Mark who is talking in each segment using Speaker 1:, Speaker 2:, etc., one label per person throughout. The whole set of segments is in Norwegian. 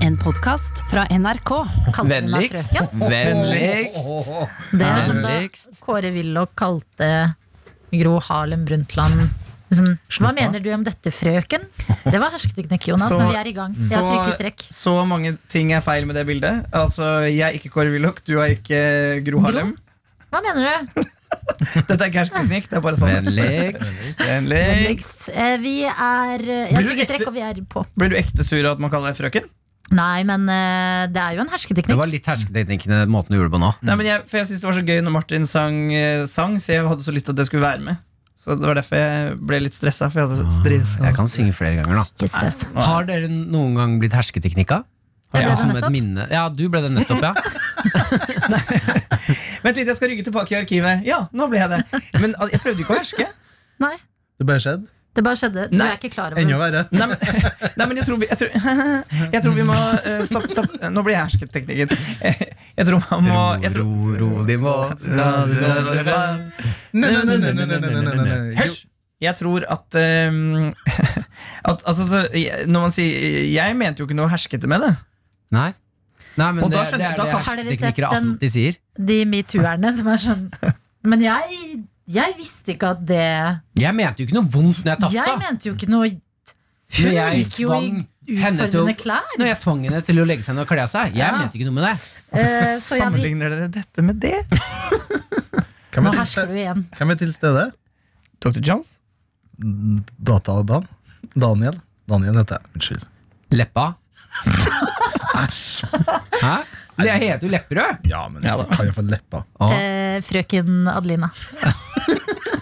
Speaker 1: En podkast fra NRK.
Speaker 2: Kalte hun meg
Speaker 3: Vennligst.
Speaker 2: frøken?
Speaker 3: Vennligst.
Speaker 2: Det er som da
Speaker 3: Vennligst.
Speaker 2: Kåre Willoch kalte Gro Harlem Brundtland sånn, Hva mener du om dette, frøken? Det var hersketeknikk, Jonas,
Speaker 4: Så-
Speaker 2: men vi er i gang. Jeg har trykket trekk.
Speaker 4: så mange ting er feil med det bildet. Altså, Jeg er ikke Kåre Willoch, du er ikke eh, Gro Harlem.
Speaker 2: Hva mener du?
Speaker 4: Dette er ikke hersketeknikk. det er bare sånn.
Speaker 3: Vennligst.
Speaker 4: Vennlig.
Speaker 2: Eh, Vi er eh, Jeg har
Speaker 4: Blir du
Speaker 2: trykket
Speaker 4: ekte-
Speaker 2: trekk, og vi er på.
Speaker 4: Blir du ekte sur av at man kaller deg frøken?
Speaker 2: Nei, men eh, det er jo en
Speaker 3: Det
Speaker 2: hersketeknikk.
Speaker 3: var litt hersketeknikkene måten du gjorde det på nå.
Speaker 4: Nei, men jeg, for jeg synes det var så gøy når Martin sang, eh, sang, så jeg hadde så lyst til at det skulle være med. Så det var derfor jeg ble litt stressa. For jeg hadde så stressa.
Speaker 3: Jeg kan synge flere ganger, da.
Speaker 2: Ikke stress.
Speaker 3: Har dere noen gang blitt hersketeknikka? Har
Speaker 2: Jeg
Speaker 3: dere
Speaker 2: ble det
Speaker 3: som et
Speaker 2: nettopp.
Speaker 3: minne- Ja, du ble det nettopp, ja.
Speaker 4: Vent litt, jeg skal rygge tilbake i arkivet. Ja, nå ble jeg det. Men al- jeg prøvde ikke å herske.
Speaker 2: Nei,
Speaker 5: Det bare skjedde.
Speaker 2: det bare skjedde. Du
Speaker 4: Nei,
Speaker 2: er ikke klar
Speaker 5: Enda
Speaker 2: over det.
Speaker 5: verre.
Speaker 4: Nei, men, nei, men jeg, tror vi, jeg, tror, jeg tror vi må eh, Stopp, stopp. Nå blir jeg hersketeknikken. Eh, Jeg tror man må jeg tror,
Speaker 3: Ro, ro, de må
Speaker 4: Hysj! Jeg tror at, ehm, at altså, så, jeg- Når man sier Jeg mente jo ikke noe herskete med det.
Speaker 3: Nei. Nei, men
Speaker 4: Og
Speaker 3: det,
Speaker 4: da
Speaker 3: det
Speaker 4: skjønner
Speaker 3: er
Speaker 4: jeg-
Speaker 3: det
Speaker 4: da kan-
Speaker 2: Har dere sett um,
Speaker 3: hersketeknikere
Speaker 2: den-
Speaker 3: alltid sier.
Speaker 2: De metoo-erne som er sånn Men jeg, jeg visste ikke at det
Speaker 3: Jeg mente jo ikke noe vondt når jeg
Speaker 2: Jeg
Speaker 3: tafsa.
Speaker 2: mente jo ikke noe
Speaker 3: Men
Speaker 2: Hun
Speaker 3: jeg
Speaker 2: gikk jo i
Speaker 3: tvang henne til
Speaker 2: utfordrende
Speaker 3: å-
Speaker 2: klær.
Speaker 3: Når jeg tvang henne til å legge seg ned og kle av seg. Jeg
Speaker 2: Ja.
Speaker 3: mente ikke noe med det.
Speaker 2: Eh, så jeg vil
Speaker 4: Sammenligner dere dette med det?
Speaker 5: Hvem
Speaker 2: Nå
Speaker 5: er til
Speaker 2: hersker du
Speaker 5: ste-
Speaker 2: igjen.
Speaker 5: hvem er til stede?
Speaker 4: Dr. Jones?
Speaker 5: Data-Dan? Daniel? Daniel heter jeg. Unnskyld.
Speaker 3: Leppa. Æsj. Hæ? Men Jeg heter jo Lepperød.
Speaker 5: Ja, men jeg kan jo få leppa.
Speaker 2: Eh, frøken Adelina.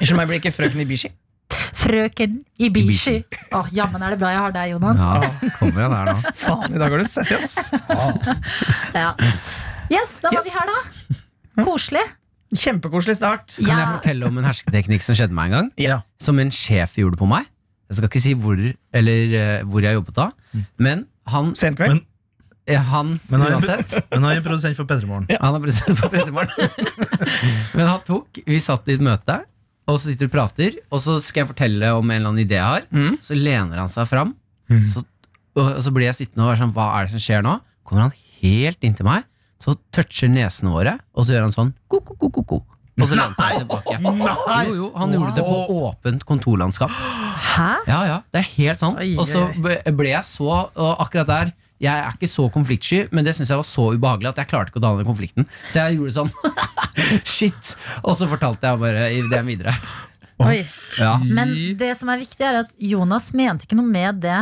Speaker 4: Unnskyld meg, blir ikke frøken Ibishi?
Speaker 2: Frøken Ibishi. Åh, Jammen er det bra jeg har deg, Jonas.
Speaker 3: Ja, kommer han her nå.
Speaker 4: Faen, i dag er du sassy, ass.
Speaker 2: Ja. Yes, da var
Speaker 4: Yes.
Speaker 2: vi her, da. Koselig.
Speaker 4: Kjempekoselig start.
Speaker 3: Kan jeg
Speaker 2: Ja.
Speaker 3: fortelle om en hersketeknikk som skjedde meg en gang?
Speaker 5: Ja.
Speaker 3: Som en sjef gjorde på meg. Jeg skal ikke si hvor, eller, eh, hvor jeg jobbet da, men han,
Speaker 4: Sent kveld.
Speaker 5: Men-
Speaker 3: eh, han
Speaker 5: Mm. Men han-
Speaker 3: uansett
Speaker 5: Men han er produsent for Petremorgen.
Speaker 3: Han er president for Petermorgen. Men han tok Vi satt i et møte, og så sitter du og prater, og så skal jeg fortelle om en eller annen idé jeg har.
Speaker 4: Mm.
Speaker 3: Så lener han seg fram, så, og, og så blir jeg sittende og være sånn Hva er det som skjer nå? Kommer han helt inntil meg, så toucher nesene våre, og så gjør han sånn ko, ko, ko, ko, ko. Og så lener han seg tilbake. Jo, jo, han gjorde det på åpent kontorlandskap.
Speaker 2: Hæ?
Speaker 3: Ja, ja, det er helt sant.
Speaker 2: Oi,
Speaker 3: Og så
Speaker 2: oi,
Speaker 3: ble ble jeg så Og akkurat der jeg er ikke så konfliktsky, men det syns jeg var så ubehagelig at jeg klarte ikke å danne den konflikten. Så jeg gjorde sånn Shit! Og så fortalte jeg bare i det videre.
Speaker 2: Oi.
Speaker 3: Ja.
Speaker 2: Men det som er viktig, er at Jonas mente ikke noe med det.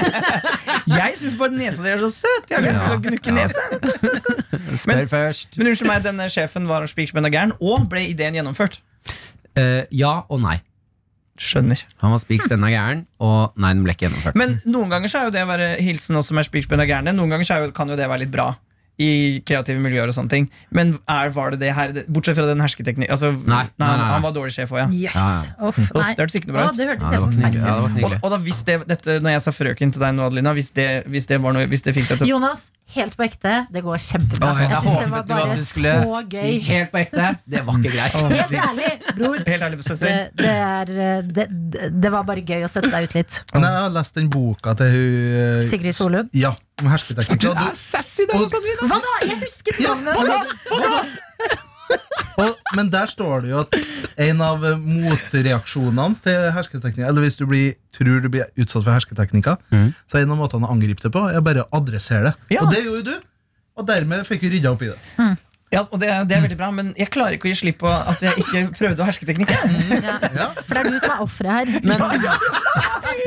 Speaker 4: Jeg syns bare nesa di er så søt. Jeg har lyst til å gnukke nese.
Speaker 3: Spør først.
Speaker 4: Men unnskyld meg, denne sjefen var spikerspent og gæren, og ble ideen gjennomført?
Speaker 3: Eh, ja og nei.
Speaker 4: Skjønner.
Speaker 3: Han var spik spenna gæren, og nei, den ble ikke gjennomført.
Speaker 4: Men noen ganger så er jo det å være hilsen også med spikspinn og gærne Noen ganger så er jo, kan jo det være litt bra i kreative miljøer og sånne ting. Men er, var det det her? det- Bortsett fra den hersketeknikken. Altså,
Speaker 3: nei, nei,
Speaker 4: han-
Speaker 3: nei.
Speaker 4: Han var dårlig sjef òg, ja.
Speaker 2: Yes. Uff,
Speaker 4: Uff,
Speaker 2: nei.
Speaker 4: det hørtes ikke noe bra
Speaker 2: Å,
Speaker 4: ut.
Speaker 2: det hørtes
Speaker 3: Ja, det
Speaker 2: helt
Speaker 3: var
Speaker 2: forferdelig
Speaker 3: kniggelig. Ja, det var
Speaker 2: ut.
Speaker 4: Og,
Speaker 3: kniggelig.
Speaker 4: og da hvis det, dette, når jeg sa frøken til deg nå, Adelina, hvis det, hvis det, var noe, hvis det fikk deg til å
Speaker 2: Jonas, helt på ekte, det går
Speaker 3: Å,
Speaker 2: kjempebra.
Speaker 3: jeg
Speaker 2: Jeg syns det
Speaker 3: håpet
Speaker 2: var
Speaker 3: du at
Speaker 2: bare
Speaker 3: du skulle
Speaker 2: så
Speaker 3: si
Speaker 2: gøy.
Speaker 3: helt på ekte. Det var ikke greit.
Speaker 2: Helt ærlig, bror.
Speaker 4: Helt ærlig,
Speaker 2: Det,
Speaker 4: søster.
Speaker 2: det, er, eh, det, det- det var bare gøy å sette deg ut litt.
Speaker 5: Men jeg har lest den boka til hun eh,
Speaker 2: Sigrid Solund?
Speaker 5: Ja, om hersketeknikker. Og, du-
Speaker 4: sassy, da, Sabrina!
Speaker 2: Hva da? Jeg husket navnet!
Speaker 5: og, men der står det jo at en av eh, motreaksjonene til hersketeknikker Eller hvis du blir, tror du blir utsatt for hersketeknikker, så er en av måtene å angripe det på, er bare å adressere det.
Speaker 4: Ja.
Speaker 5: Og det gjorde du. Og dermed fikk vi rydda opp i det.
Speaker 4: Ja, og det, er- det er veldig bra, men jeg klarer ikke å gi slipp på at jeg ikke prøvde å hersketeknikk. jeg.
Speaker 2: Ja. For det er du som er offeret her.
Speaker 3: Men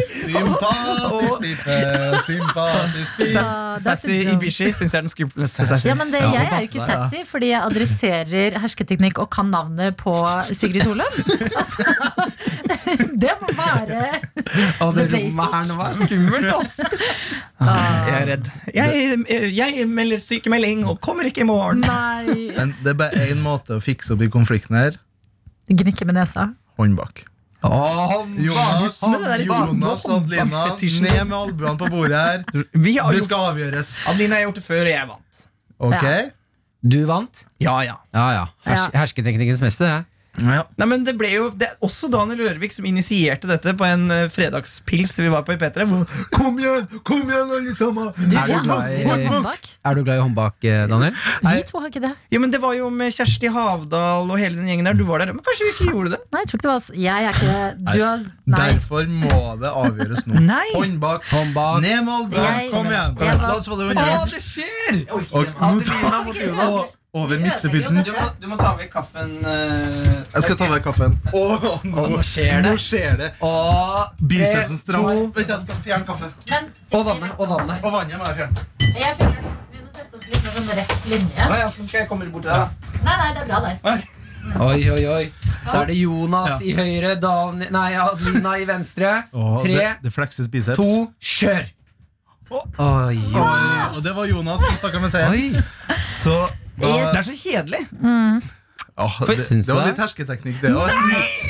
Speaker 5: Sympatisk type, sympatisk
Speaker 2: Så
Speaker 5: type.
Speaker 2: that's a
Speaker 4: Sassy
Speaker 2: joke.
Speaker 4: Ibishi syns jeg er den skumleste sassy.
Speaker 2: Ja, men det,
Speaker 3: Ja,
Speaker 2: Jeg er
Speaker 3: det
Speaker 2: jo
Speaker 3: passer
Speaker 2: ikke
Speaker 3: deg, ja.
Speaker 2: sassy, fordi jeg adresserer hersketeknikk og kan navnet på Sigrid Solund. Altså, det må være
Speaker 3: Å, det
Speaker 2: The basic.
Speaker 3: rommet her nå var skummelt, ass.
Speaker 4: Jeg er redd. Jeg, jeg melder sykemelding og kommer ikke i morgen.
Speaker 2: Nei.
Speaker 5: Men det er bare én måte å fikse opp i konflikten her.
Speaker 2: Gnikke med nesa.
Speaker 5: Hånd bak.
Speaker 3: Å,
Speaker 5: Jonas,
Speaker 4: Slutt med det der
Speaker 5: Jonas
Speaker 4: hånd-
Speaker 5: Adelina,
Speaker 4: håndbakfetisjen.
Speaker 5: ned med albuene på bordet her.
Speaker 4: Vi har
Speaker 5: Det
Speaker 4: gjort,
Speaker 5: skal avgjøres.
Speaker 4: Adelina har gjort det før, og jeg vant.
Speaker 5: Ok?
Speaker 3: Du vant.
Speaker 4: Ja, ja.
Speaker 3: Ja, ja. Hers
Speaker 2: Ja.
Speaker 3: Hersketeknikkens mester, det.
Speaker 5: Ja.
Speaker 4: Nei, men det ble jo det er også Daniel Rørvik som initierte dette på en eh, fredagspils vi var på i P3. hvor-
Speaker 5: Kom igjen, kom igjen, alle sammen!
Speaker 2: Du, vi
Speaker 3: Er du
Speaker 2: har
Speaker 3: glad i-
Speaker 2: aldri tatt håndbak.
Speaker 3: Er du glad i håndbak, eh, Daniel?
Speaker 2: Vi to har ikke det.
Speaker 4: Ja, men Det var jo med Kjersti Havdal og hele den gjengen der. Du var der, men kanskje vi ikke gjorde det?
Speaker 2: Nei, jeg tror ikke det var oss. Jeg er ikke Du har Nei.
Speaker 5: Derfor må det avgjøres nå.
Speaker 4: Nei.
Speaker 5: Hånd bak.
Speaker 3: Håndbak.
Speaker 5: Ned med albuen.
Speaker 2: Jeg-
Speaker 5: Kom igjen.
Speaker 2: jeg var-
Speaker 5: La oss få Ah, det
Speaker 4: Å,
Speaker 5: unna.
Speaker 4: det skjer!
Speaker 5: Og
Speaker 4: Adelina mot Jonas.
Speaker 5: Og over miksepulten.
Speaker 4: Du må, du må ta vekk kaffen. eh,
Speaker 5: Jeg skal ta vekk kaffen. Åh, nå,
Speaker 3: nå skjer det.
Speaker 5: Nå skjer det.
Speaker 3: Og
Speaker 5: Bicepsen straks.
Speaker 3: to-
Speaker 5: Vent, jeg skal fjerne kaffe.
Speaker 2: Men,
Speaker 3: Og vannet. Og vannet.
Speaker 5: Og vannet må jeg fjerne.
Speaker 2: Jeg føler vi må sette oss litt med sånn rett linje.
Speaker 4: Nei, ja, så skal jeg komme bort til deg, da.
Speaker 2: Nei, nei, det er bra der.
Speaker 3: Oi, oi, oi. Da er det Jonas i høyre, Dan Nei, Adelina i venstre. Tre,
Speaker 5: det, det flekses biceps.
Speaker 3: to, kjør! Oi, oi.
Speaker 5: Og det var Jonas som stakk av med seieren.
Speaker 3: oi.
Speaker 5: Så da
Speaker 4: Det er så kjedelig.
Speaker 5: Åh, det,
Speaker 3: Syns
Speaker 5: det var
Speaker 3: du
Speaker 5: litt hersketeknikk, det òg.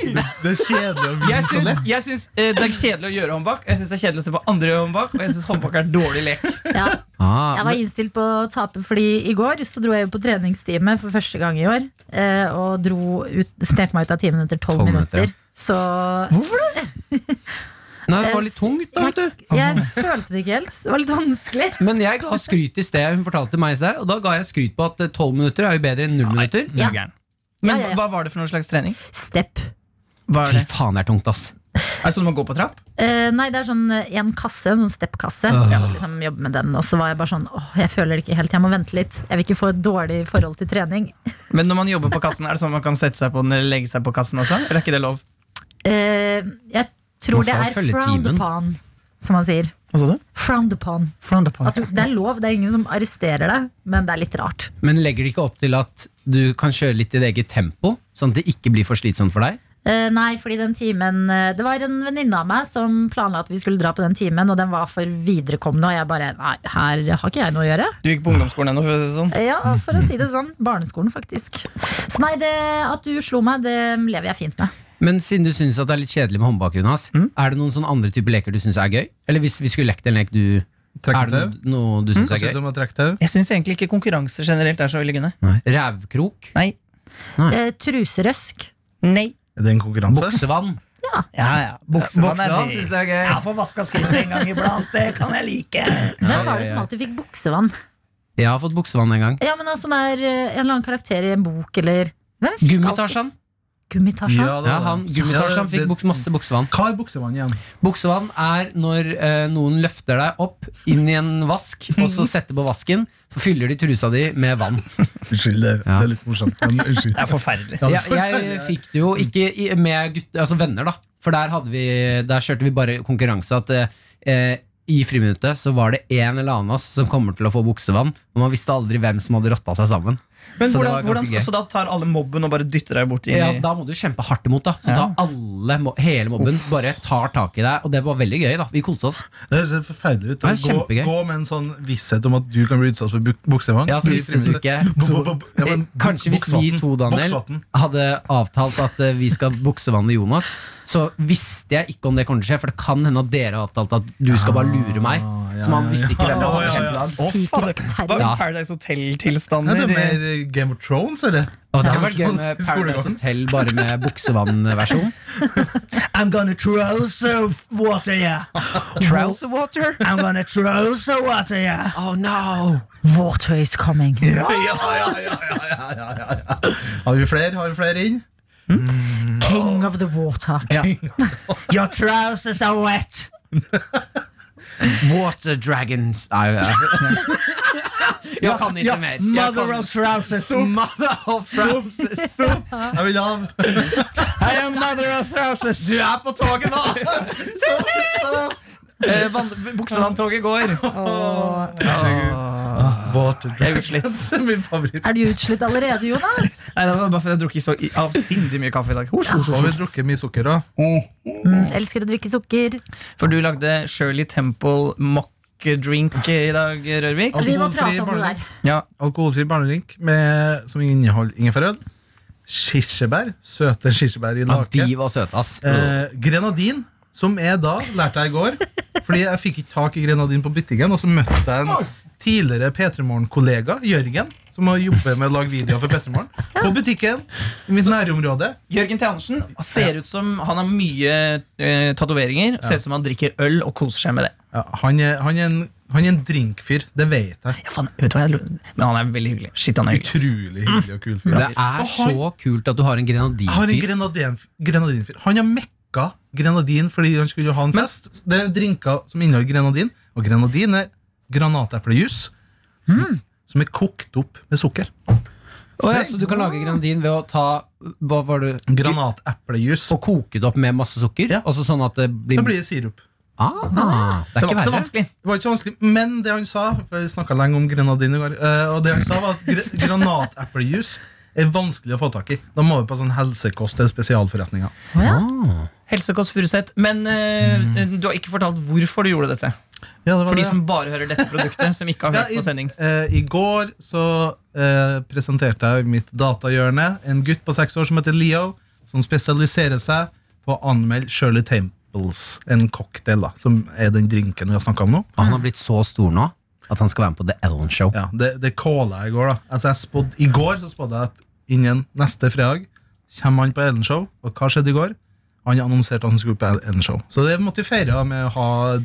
Speaker 5: Det, det er kjedelig å vinne
Speaker 4: Jeg
Speaker 5: så
Speaker 4: syns,
Speaker 5: lett.
Speaker 4: jeg syns eh, det er kjedelig å gjøre håndbak. Jeg syns det er kjedelig å se på andre gjøre håndbak, og jeg syns håndbak er dårlig lek.
Speaker 2: Ja,
Speaker 3: Ah,
Speaker 2: jeg var innstilt på å tape, fordi i går så dro jeg jo på treningstime for første gang i år. eh, Og dro ut, snek meg ut av timen etter tolv
Speaker 3: 12 minutter,
Speaker 2: minutter. Så
Speaker 4: Hvorfor det?
Speaker 3: Nei, det var litt tungt, da, vet du.
Speaker 2: jeg følte det ikke helt. Det var litt vanskelig.
Speaker 3: Men jeg ga skryt i sted. Hun fortalte meg i sted, og da ga jeg skryt på at eh, tolv minutter er jo bedre enn null minutter.
Speaker 2: Ja.
Speaker 4: Men
Speaker 2: Ja, ja, ja.
Speaker 4: hva var det for noe slags trening?
Speaker 2: Step.
Speaker 4: Hva
Speaker 3: Fy faen, det er tungt, ass.
Speaker 4: Er det sånn man går på trapp?
Speaker 2: Eh, nei, det er sånn eh, en kasse, en sånn steppkasse.
Speaker 3: Åh.
Speaker 2: Så liksom jobbe med den, og så var jeg bare sånn åh, jeg føler det ikke helt, jeg må vente litt. Jeg vil ikke få et dårlig forhold til trening.
Speaker 4: Men når man jobber på kassen, er det sånn man kan sette seg på den eller legge seg på kassen også? Eller er ikke det lov?
Speaker 2: Eh, jeg
Speaker 3: Man
Speaker 2: tror det
Speaker 3: skal
Speaker 2: er
Speaker 3: jo følge
Speaker 2: frowned
Speaker 3: timen.
Speaker 2: upon, som man sier.
Speaker 4: Hva sa du?
Speaker 2: Frowned upon. At du- det er lov, det er ingen som arresterer deg, men det er litt rart.
Speaker 3: Men legger de ikke opp til at du kan kjøre litt i ditt eget tempo, sånn at det ikke blir for slitsomt for deg?
Speaker 2: Eh, nei, fordi den timen eh, Det var en venninne av meg som planla at vi skulle dra på den timen, og den var for viderekomne, og jeg bare Nei, her har ikke jeg noe å gjøre.
Speaker 4: Du gikk på ungdomsskolen ennå, for å si det sånn.
Speaker 2: Ja, for å si det sånn. Barneskolen, faktisk. Så nei, det, at du slo meg, det lever jeg fint med.
Speaker 3: Men siden du syns det er litt kjedelig med håndbak, Jonas,
Speaker 5: Mm.
Speaker 3: er det noen sånne andre typer leker du syns er gøy? Eller hvis vi skulle lekt en lek du Er det
Speaker 5: Trekktau.
Speaker 3: noe, noe du syns
Speaker 5: Jeg
Speaker 3: er
Speaker 5: syns
Speaker 3: gøy?
Speaker 5: om å trekke tau.
Speaker 4: Jeg syns egentlig ikke konkurranser generelt er så veldig gøyende.
Speaker 3: Nei. Rævkrok?
Speaker 4: Nei.
Speaker 2: Eh, truserøsk.
Speaker 4: Nei.
Speaker 5: Er det en konkurranse?
Speaker 3: Boksevann?
Speaker 4: Ja, ja. Boksevann er
Speaker 3: Boksevann
Speaker 4: digg.
Speaker 3: syns jeg er gøy.
Speaker 4: Jeg får vaska skrittet en gang iblant. Det kan jeg like.
Speaker 2: Hvem var
Speaker 3: ja,
Speaker 2: det
Speaker 3: ja.
Speaker 2: som alltid fikk buksevann?
Speaker 3: Jeg har fått boksevann en gang.
Speaker 2: Ja, men altså, det er eh, en eller annen karakter i en bok, eller Hvem fikk alltid-
Speaker 3: Gummitarsan.
Speaker 2: Gummitarsan?
Speaker 5: Ja, det var
Speaker 3: Ja,
Speaker 5: det.
Speaker 3: han Gummitarsan
Speaker 5: Ja,
Speaker 3: fikk
Speaker 5: det-
Speaker 3: buks- masse boksevann.
Speaker 5: Hva er buksevann igjen?
Speaker 3: Buksevann er når eh, noen løfter deg opp inn i en vask, og så setter på vasken, så fyller de trusa di med vann.
Speaker 5: Unnskyld, det,
Speaker 3: Ja.
Speaker 5: det er litt morsomt. Men unnskyld.
Speaker 4: Det er forferdelig.
Speaker 5: Ja, det
Speaker 3: Jeg, jeg fikk det jo ikke i- med gutt, altså venner, da. For der, hadde vi, der kjørte vi bare konkurranse at eh, i friminuttet så var det en eller annen av oss som kommer til å få buksevann, og man visste aldri hvem som hadde rotta seg sammen.
Speaker 4: Men
Speaker 3: Så det var
Speaker 4: hvordan, hvordan,
Speaker 3: ganske gøy.
Speaker 4: så da tar alle mobben og bare dytter deg bort inn
Speaker 3: Ja,
Speaker 4: i
Speaker 3: da må du kjempe hardt imot, da. Så
Speaker 4: Ja.
Speaker 3: da alle, mo- hele mobben bare tar tak i deg, og det var veldig gøy, da. Vi koste oss.
Speaker 5: Det høres helt forferdelig ut.
Speaker 3: Det
Speaker 5: Å
Speaker 3: er
Speaker 5: gå,
Speaker 3: kjempegøy.
Speaker 5: gå med en sånn visshet om at du kan bli utsatt for buk buksevann.
Speaker 3: Ja, så
Speaker 5: Bli
Speaker 3: visste du
Speaker 5: friminutt.
Speaker 3: ikke. Eh,
Speaker 5: Bo- bo- bo- ja, men buk-
Speaker 3: Kanskje hvis vi
Speaker 5: buksvatten.
Speaker 3: to, Daniel,
Speaker 5: Buksvatten.
Speaker 3: hadde avtalt at eh, vi skal buksevanne Jonas, så visste jeg ikke om det kommer til å skje, for det kan hende at dere har avtalt at du skal bare lure meg.
Speaker 5: Ah, ja,
Speaker 3: Så man visste ikke hvem det
Speaker 5: Ja,
Speaker 3: var.
Speaker 5: ja, ja.
Speaker 3: kjempeland.
Speaker 2: Psykisk
Speaker 4: Hva
Speaker 2: terror.
Speaker 4: med
Speaker 3: Ja.
Speaker 4: Paradise
Speaker 5: Ja,
Speaker 4: Hotel-tilstander?
Speaker 5: det er mer eh, Game of Thrones, eller?
Speaker 3: Og det hadde vært gøy med Paradise
Speaker 5: Skolegang.
Speaker 3: Hotel bare med buksevann-versjon.
Speaker 6: I'm gonna throw some water, yeah.
Speaker 3: Trouser water?
Speaker 6: I'm gonna throw some water, yeah.
Speaker 3: Oh no!
Speaker 2: Water is coming.
Speaker 5: Ja, ja, ja, ja, ja, ja, ja, ja. Har vi flere? Har vi flere inn?
Speaker 2: King of the water.
Speaker 6: Your trousers are wet.
Speaker 3: Water dragons Nei, jeg Jeg kan ikke mer. Jeg
Speaker 6: Mother
Speaker 3: kan-
Speaker 6: of trousers.
Speaker 3: Mother of trousers.
Speaker 5: Jeg vil av.
Speaker 6: I am mother of trousers.
Speaker 3: Du er på toget nå!
Speaker 4: Eh, vand- Buksevanntoget går.
Speaker 3: Ah.
Speaker 5: Water
Speaker 4: Jeg er
Speaker 5: Dragons.
Speaker 4: utslitt.
Speaker 5: Min favoritt.
Speaker 2: Er du utslitt allerede, Jonas?
Speaker 4: Nei, det var bare fordi jeg har drukket så avsindig mye kaffe i dag. Hos, hos,
Speaker 5: Så
Speaker 4: hos,
Speaker 5: har vi
Speaker 4: hos.
Speaker 5: drukket mye sukker, da.
Speaker 2: Mm, elsker å drikke sukker.
Speaker 4: For du lagde Shirley Temple mock drink i dag, Rørvik.
Speaker 2: Vi må
Speaker 5: Alkoholfri
Speaker 2: prate om det
Speaker 5: barnedrikk.
Speaker 2: der.
Speaker 4: Ja.
Speaker 5: Alkoholfri barnedrink med- som inneholder ingefærøl. Kirsebær. Søte kirsebær i
Speaker 3: Ja,
Speaker 5: lake.
Speaker 3: de var søte, ass.
Speaker 5: Eh, grenadin, som er da, lærte jeg i går. Fordi jeg fikk ikke tak i grenadin på butikken, og så møtte jeg en tidligere P3 Morgen-kollega, Jørgen, som har jobbet med å lage videoer for Pettermorgen. På butikken, i mitt nærområde.
Speaker 4: Jørgen Theandersen ser ut som han har mye eh, tatoveringer. Ser ut som han drikker øl og koser seg med det.
Speaker 5: Ja, han, er, han, er en, han er en drinkfyr. Det vet jeg.
Speaker 4: Ja, faen, vet du hva jeg Men han er veldig hyggelig. Shit, han er hyggelig.
Speaker 5: Utrolig hyggelig og kul fyr.
Speaker 3: Det er så kult at du har en
Speaker 5: Jeg har en
Speaker 3: grenadinfyr.
Speaker 5: grenadin, grenadinfyr. Han har mekka grenadin fordi han skulle ha en fest. Det er drinker som inneholder grenadin, og grenadin er granateplejus. Som er kokt opp med sukker.
Speaker 3: Å ja, så du kan lage grenadin ved å ta Hva var det?
Speaker 5: Granateplejus.
Speaker 3: Og koke det opp med masse sukker?
Speaker 5: Ja.
Speaker 3: Altså sånn at det blir,
Speaker 5: Da blir det sirup.
Speaker 3: ah, Det
Speaker 4: Det
Speaker 3: er
Speaker 4: var
Speaker 3: ikke
Speaker 4: ikke så
Speaker 3: verre.
Speaker 4: vanskelig.
Speaker 5: Det var ikke så vanskelig, men det han sa For Vi snakka lenge om grenadin i går. eh, Og det han sa, var at gre granateplejus er vanskelig å få tak i. Da må du på sånn helsekost til spesialforretninger.
Speaker 4: Helsekost Furuseth. Men eh, du har ikke fortalt hvorfor du gjorde dette.
Speaker 5: Ja, det var
Speaker 4: For de
Speaker 5: Mm. det.
Speaker 4: som bare hører dette produktet, som ikke har hørt
Speaker 5: Ja, i-
Speaker 4: på sending.
Speaker 5: eh, I går så eh, presenterte jeg i mitt datahjørne en gutt på seks år som heter Leo, som spesialiserer seg på å anmelde Shirley Temples, en cocktail, da, som er den drinken vi har snakka om nå.
Speaker 3: Han har blitt så stor nå at han skal være med på The Ellen Show.
Speaker 5: Ja, det, det kåla jeg i går, da. Altså, jeg spådde, I går så spådde jeg at innen neste fredag kommer han på Ellen Show, og hva skjedde i går? Han annonserte at han skulle på Ellen Show. Så det måtte vi feire da, med å ha